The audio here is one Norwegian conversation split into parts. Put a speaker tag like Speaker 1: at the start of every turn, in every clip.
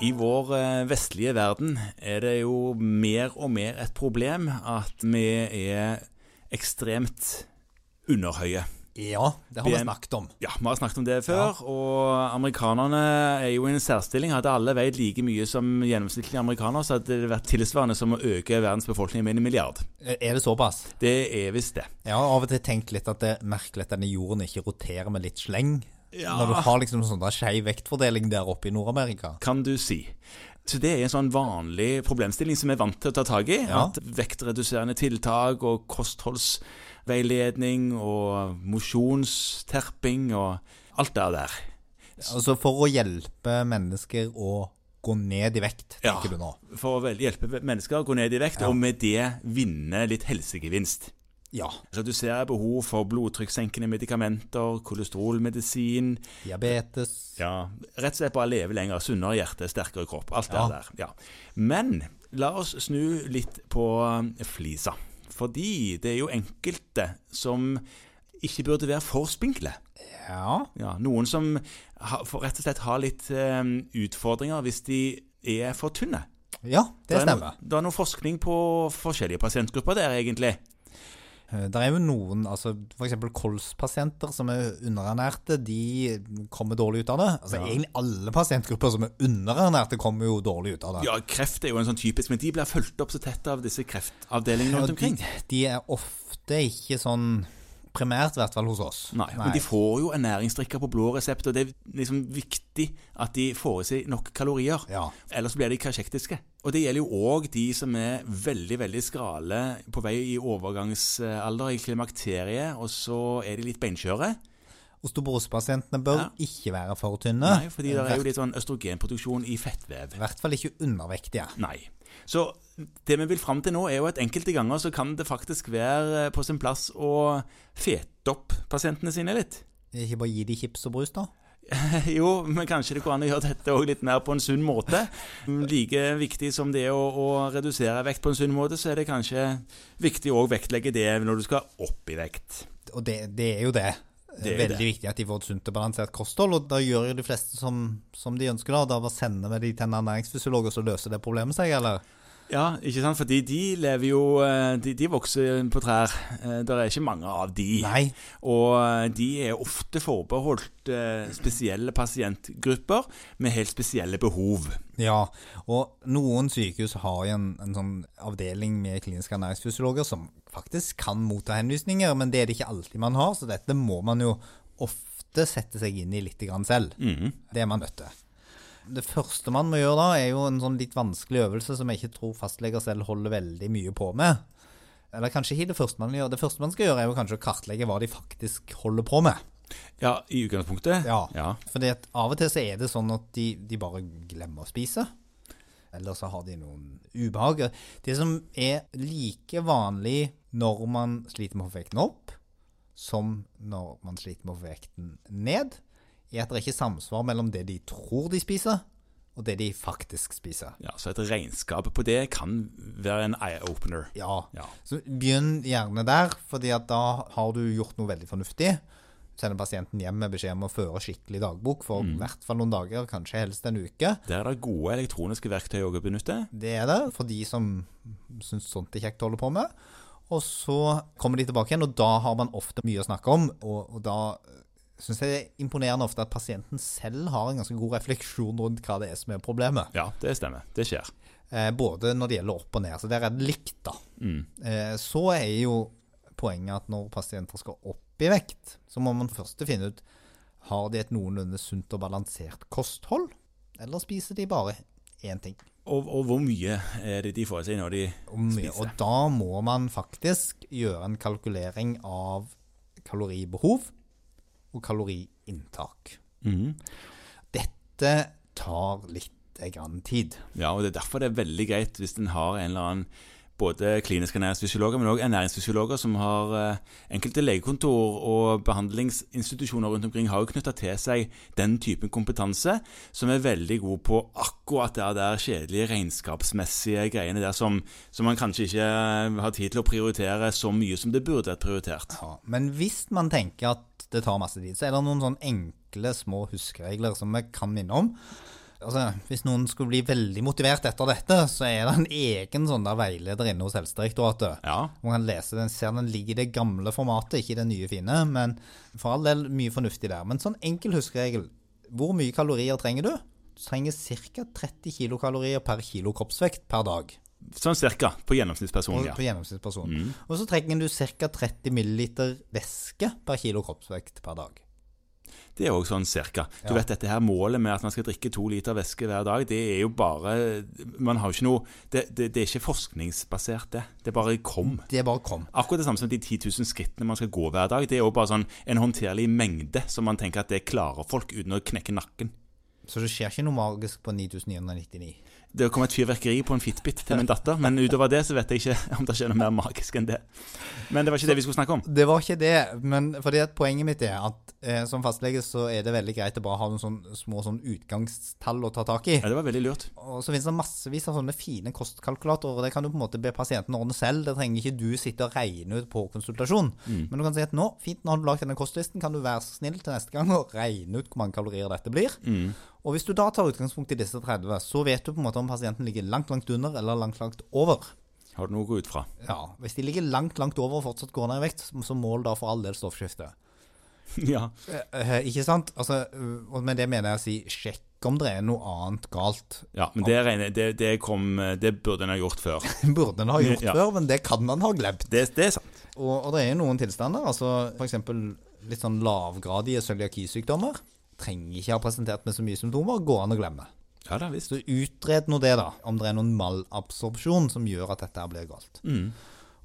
Speaker 1: I vår eh, vestlige verden er det jo mer og mer et problem at vi er ekstremt underhøye.
Speaker 2: Ja, det har vi
Speaker 1: BM.
Speaker 2: snakket om.
Speaker 1: Ja, vi har snakket om det før, og amerikanerne er jo i en særstilling. Hadde alle veid like mye som gjennomsnittlig amerikaner, så hadde det vært tilsvarende som å øke verdens befolkning med en milliard.
Speaker 2: E, Er det såpass?
Speaker 1: Det er visst det.
Speaker 2: Jeg har av og til tenkt litt at det er merkelig at denne jorden ikke roterer med litt sleng. Når du har liksom sånn der skeiv vektfordeling der oppe i Nord-Amerika.
Speaker 1: kan du si. Så det er en sånn vanlig problemstilling som vi er vant til å ta tak i.
Speaker 2: Ja.
Speaker 1: At vektreduserende tiltak og kostholdsveiledning og mosjonsterping og alt det der.
Speaker 2: Altså for å hjelpe mennesker å gå ned i vekt,
Speaker 1: Ja.
Speaker 2: tenker du nå.
Speaker 1: For å vel- hjelpe mennesker å gå ned i vekt, og med det vinne litt helsegevinst.
Speaker 2: Ja.
Speaker 1: Redusere behov for blodtrykkssenkende medikamenter, kolesterolmedisin,
Speaker 2: Diabetes.
Speaker 1: Ja, rett og slett bare leve lenger, sunnere hjerte, sterkere kropp. Alt det
Speaker 2: Ja.
Speaker 1: der. Ja. Men la oss snu litt på eh, flisa. Fordi det er jo enkelte som ikke burde være for spinkle.
Speaker 2: Ja.
Speaker 1: Ja, noen som har, for rett og slett har litt eh, utfordringer hvis de er for tynne.
Speaker 2: Ja, det
Speaker 1: er no,
Speaker 2: stemmer.
Speaker 1: det er noe forskning på forskjellige pasientgrupper der, egentlig.
Speaker 2: Eh, Det er jo noen, altså f.eks. kolspasienter som er underernærte, de kommer dårlig ut av det. Altså Egentlig alle pasientgrupper som er underernærte, kommer jo dårlig ut av det.
Speaker 1: Ja, kreft er jo en sånn typisk, men de blir fulgt opp så tett av disse kreftavdelingene rundt
Speaker 2: Og de,
Speaker 1: omkring.
Speaker 2: de er ofte ikke sånn primært, i hvert fall hos oss.
Speaker 1: Nei, men de får jo ernæringsdrikker på blå resept, og det er liksom viktig at de får i seg nok kalorier.
Speaker 2: Ja.
Speaker 1: Ellers blir de kasjektiske. Og det gjelder jo òg de som er veldig veldig skrale på vei i overgangsalder, i klimakteriet, og så er de litt beinskjøre.
Speaker 2: Osteoporosepasientene bør
Speaker 1: Ja.
Speaker 2: ikke være for tynne.
Speaker 1: Nei, fordi det er jo litt sånn østrogenproduksjon i fettvev.
Speaker 2: I hvert fall ikke undervektige.
Speaker 1: Nei. Så det vi vil fram til nå, er jo at enkelte ganger så kan det faktisk være på sin plass å fete opp pasientene sine litt.
Speaker 2: Ikke bare gi de chips og brus, da.
Speaker 1: Jo, men kanskje det går an å gjøre dette også litt mer på en sunn måte. Mm, Like viktig som det er å, å redusere vekt på en sunn måte, så er det kanskje viktig å vektlegge det når du skal opp i vekt.
Speaker 2: Og det, det er jo det.
Speaker 1: Det er jo
Speaker 2: Veldig viktig at de får et sunt og balansert kosthold, og da gjør jo de fleste som, som de ønsker. da, Da bare sender vi de til en ernæringsfysiolog, og så løser det problemet seg, eller?
Speaker 1: Ja, ikke sant? Fordi de lever jo eh, De, de vokser på trær. Eh, Det er ikke mange av de.
Speaker 2: Nei.
Speaker 1: Og eh, de er ofte forbeholdt eh, spesielle pasientgrupper med helt spesielle behov.
Speaker 2: Ja, og noen sykehus har jo en, en sånn avdeling med kliniske ernæringsfysiologer som faktisk kan motta henvisninger, men det er det ikke alltid man har, så dette må man jo ofte sette seg inn i litt grann selv. Det er man nødt til. Det første man må gjøre da, er jo en sånn litt vanskelig øvelse som jeg ikke tror fastleger selv holder veldig mye på med. Eller kanskje ikke det første man gjør. Det første man skal gjøre, er jo kanskje å kartlegge hva de faktisk holder på med.
Speaker 1: Ja, i utgangspunktet.
Speaker 2: Ja.
Speaker 1: ja.
Speaker 2: Fordi at av og til så er det sånn at de, de bare glemmer å spise. Eller så har de noen ubehag. Det som er like vanlig når man sliter med å få vekten opp, som når man sliter med å få vekten ned, er at det er ikke samsvar mellom det de tror de spiser, og det de faktisk spiser.
Speaker 1: Ja, Så et regnskap på det kan være en eye-opener.
Speaker 2: Ja.
Speaker 1: Ja.
Speaker 2: Så begynn gjerne der, fordi at da har du gjort noe veldig fornuftig. Sender pasienten hjem med beskjed om å føre skikkelig dagbok for i hvert fall noen dager, kanskje helst en uke.
Speaker 1: Der er det gode elektroniske verktøy også å benytte.
Speaker 2: Det er det, for de som syns sånt er kjekt å holde på med. Og så kommer de tilbake igjen, og da har man ofte mye å snakke om. Og, og da syns jeg det er imponerende ofte at pasienten selv har en ganske god refleksjon rundt hva det er som er problemet.
Speaker 1: Ja, det stemmer. Det skjer.
Speaker 2: Eh, både når det gjelder opp og ned. Så der er det likt, da. Eh, så er jo poenget at når pasienter skal opp i vekt, så må man først finne ut har de et noenlunde sunt og balansert kosthold, eller spiser de bare én ting.
Speaker 1: Og, og hvor mye er det de får i seg når de
Speaker 2: Og mye. Og da må man faktisk gjøre en kalkulering av kaloribehov og kaloriinntak.
Speaker 1: Mhm.
Speaker 2: Dette tar litt eh, grann tid.
Speaker 1: Ja, og det er derfor det er veldig greit hvis en har en eller annen både kliniske ernæringsfysiologer, men òg ernæringsfysiologer som har eh, enkelte legekontor og behandlingsinstitusjoner rundt omkring har jo knytta til seg den typen kompetanse som er veldig god på akkurat det der kjedelige regnskapsmessige greiene der som, som man kanskje ikke har tid til å prioritere så mye som det burde vært prioritert.
Speaker 2: Ja, men hvis man tenker at det tar masse tid, så er det noen sånn enkle små huskeregler som vi kan minne om. altså, Hvis noen skulle bli veldig motivert etter dette, så er det en egen sånn der veileder inne hos Helsedirektoratet.
Speaker 1: Ja.
Speaker 2: Man kan lese den, ser den ligger i det gamle formatet, ikke i det nye fine. Men for all del mye fornuftig der. Men sånn enkel huskeregel. Hvor mye kalorier trenger du? Du trenger ca. 30 kilokalorier per kilo kroppsvekt per dag.
Speaker 1: Sånn cirka, på gjennomsnittspersonen.
Speaker 2: På,
Speaker 1: Ja.
Speaker 2: på gjennomsnittsperson. Og så trenger du ca. 30 milliliter væske per kilo kroppsvekt per dag.
Speaker 1: Det er òg sånn cirka. Du
Speaker 2: Ja.
Speaker 1: vet dette her målet med at man skal drikke to liter væske hver dag, det er jo bare Man har jo ikke noe Det, det, det er ikke forskningsbasert, det. Det bare kom.
Speaker 2: Det bare kom.
Speaker 1: Akkurat det samme som de 10 000 skrittene man skal gå hver dag. Det er jo bare sånn en håndterlig mengde som man tenker at det klarer folk uten å knekke nakken.
Speaker 2: Så det skjer ikke noe magisk på 9999.
Speaker 1: Det kom et fyrverkeri på en Fitbit til min datter, men utover det så vet jeg ikke om det skjer noe mer magisk enn det. Men det var ikke det vi skulle snakke om.
Speaker 2: Det var ikke det, men fordi at poenget mitt er at eh, som fastlege så er det veldig greit å bare ha noen sånne små sånn utgangstall å ta tak i.
Speaker 1: Ja, det var veldig lurt.
Speaker 2: Og så finnes det massevis av sånne fine kostkalkulatorer, og det kan du på en måte be pasienten ordne selv. Det trenger ikke du sitte og regne ut på konsultasjon. Men du kan si at nå, fint, nå har du lagd denne kostlisten, kan du være så snill til neste gang og regne ut hvor mange kalorier dette blir. Og hvis du da tar utgangspunkt i disse 30, så vet du på en måte om pasienten ligger langt, langt under eller langt, langt over.
Speaker 1: Har du noe å gå ut fra?
Speaker 2: Ja, Hvis de ligger langt langt over og fortsatt går ned i vekt, så mål da for all del stoffskifte.
Speaker 1: Ja.
Speaker 2: Eh, ikke sant? Altså, øh, og med det mener jeg å si sjekk om det er noe annet galt.
Speaker 1: ja men det, regner, det, det, kom, det burde en ha gjort før.
Speaker 2: Burde en ha gjort
Speaker 1: Ja.
Speaker 2: før, men det kan man ha glemt.
Speaker 1: Det, det er sant.
Speaker 2: Og, og det er jo noen tilstander, altså f.eks. litt sånn lavgradige cøliakisykdommer. Trenger ikke ha presentert med så mye symptomer, går an å glemme.
Speaker 1: Ja da, visst.
Speaker 2: Så utred nå det, da. Om det er noen malabsorpsjon som gjør at dette her blir galt.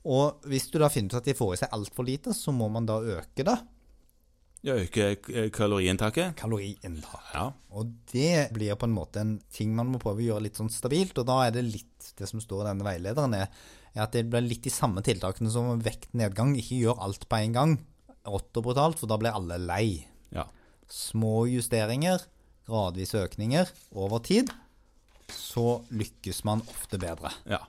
Speaker 2: Og hvis du da finner ut at de får i seg altfor lite, så må man da øke det.
Speaker 1: Ja, øke eh, kaloriinntaket.
Speaker 2: Kaloriinntak.
Speaker 1: Ja.
Speaker 2: Og det blir på en måte en ting man må prøve å gjøre litt sånn stabilt, og da er det litt det som står i denne veilederen, er, er at det blir litt de samme tiltakene som vektnedgang. Ikke gjør alt på en gang, rått og brutalt, for da blir alle lei.
Speaker 1: ja.
Speaker 2: Små justeringer, gradvise økninger over tid, så lykkes man ofte bedre.
Speaker 1: Ja.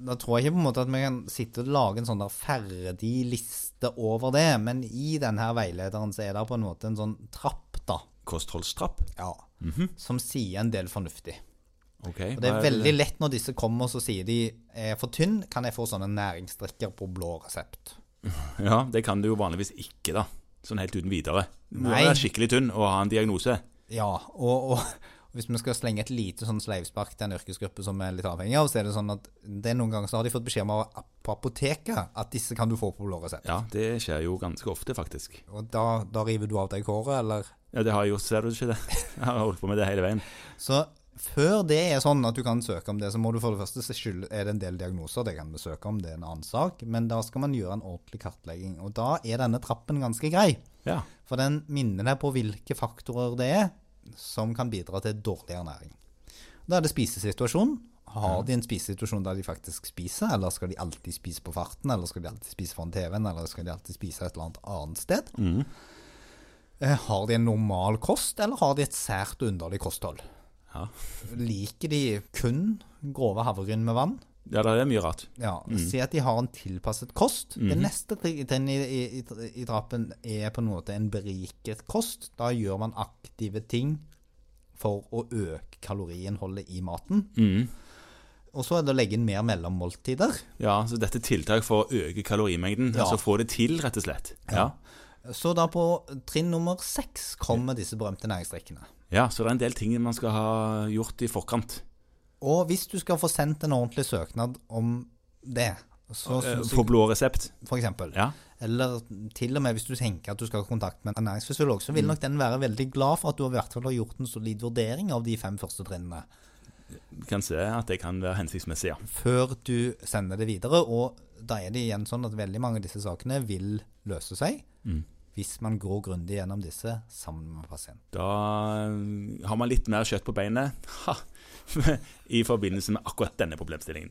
Speaker 2: Da tror jeg ikke på en måte at vi kan sitte og lage en sånn der ferdig liste over det, men i denne her veilederen så er det på en måte en sånn trapp, da.
Speaker 1: Kostholdstrapp.
Speaker 2: Ja. Som sier en del fornuftig.
Speaker 1: Ok.
Speaker 2: Og det er veldig lett når disse kommer så sier de er for tynn, kan jeg få sånne næringsdrikker på blå resept.
Speaker 1: Ja, det kan du jo vanligvis ikke, da. Sånn helt uten videre. Du må
Speaker 2: Nei.
Speaker 1: være skikkelig tynn og ha en diagnose.
Speaker 2: Ja, og, og hvis vi skal slenge et lite sånn sleivspark til en yrkesgruppe som er litt avhengig av, så er det sånn at det er noen ganger så har de fått beskjed om av- på apoteket at disse kan du få på blå resept.
Speaker 1: Ja, det skjer jo ganske ofte, faktisk.
Speaker 2: Og da, da river du av deg håret, eller
Speaker 1: Ja, det har jeg gjort, ser du ikke det? Jeg har holdt på med det hele veien.
Speaker 2: Så før det er sånn at du kan søke om det, så må du for det første se skyld, er det en del diagnoser, det kan vi søke om, det er en annen sak, men da skal man gjøre en ordentlig kartlegging, og da er denne trappen ganske grei,
Speaker 1: Ja.
Speaker 2: for den minner deg på hvilke faktorer det er som kan bidra til dårlig ernæring. Da er det spisesituasjonen. Har de en spisesituasjon der de faktisk spiser, eller skal de alltid spise på farten, eller skal de alltid spise foran TV-en, eller skal de alltid spise et eller annet annet sted? Eh, Har de en normal kost, eller har de et sært og underlig kosthold?
Speaker 1: Ja,
Speaker 2: Liker de kun grove havregryn med vann?
Speaker 1: ja det er mye rart.
Speaker 2: Ja, Se at de har en tilpasset kost. Det neste tri- trinn i, i, i- i trappen er på en måte en beriket kost. Da gjør man aktive ting for å øke kaloriinnholdet i maten. Og så er det å legge inn mer mellommåltider.
Speaker 1: Ja, så dette er tiltak for å øke kalorimengden.
Speaker 2: Ja.
Speaker 1: Altså få det til, rett og slett. Ja.
Speaker 2: Så da på trinn nummer seks kommer disse berømte næringsdrikkene.
Speaker 1: ja, så det er en del ting man skal ha gjort i forkant.
Speaker 2: Og hvis du skal få sendt en ordentlig søknad om det, så
Speaker 1: Eh,
Speaker 2: syns jeg
Speaker 1: Få blå resept.
Speaker 2: for eksempel
Speaker 1: Ja.
Speaker 2: Eller til og med hvis du tenker at du skal ha kontakt med en ernæringsfysiolog, så vil nok den være veldig glad for at du i hvert fall har gjort en solid vurdering av de fem første trinnene
Speaker 1: Kan se at det kan være hensiktsmessig, ja.
Speaker 2: før du sender det videre. Og da er det igjen sånn at veldig mange av disse sakene vil løse seg hvis man går grundig gjennom disse sammen med pasienten.
Speaker 1: Da eh, har man litt mer kjøtt på beinet ha, i forbindelse med akkurat denne problemstillingen.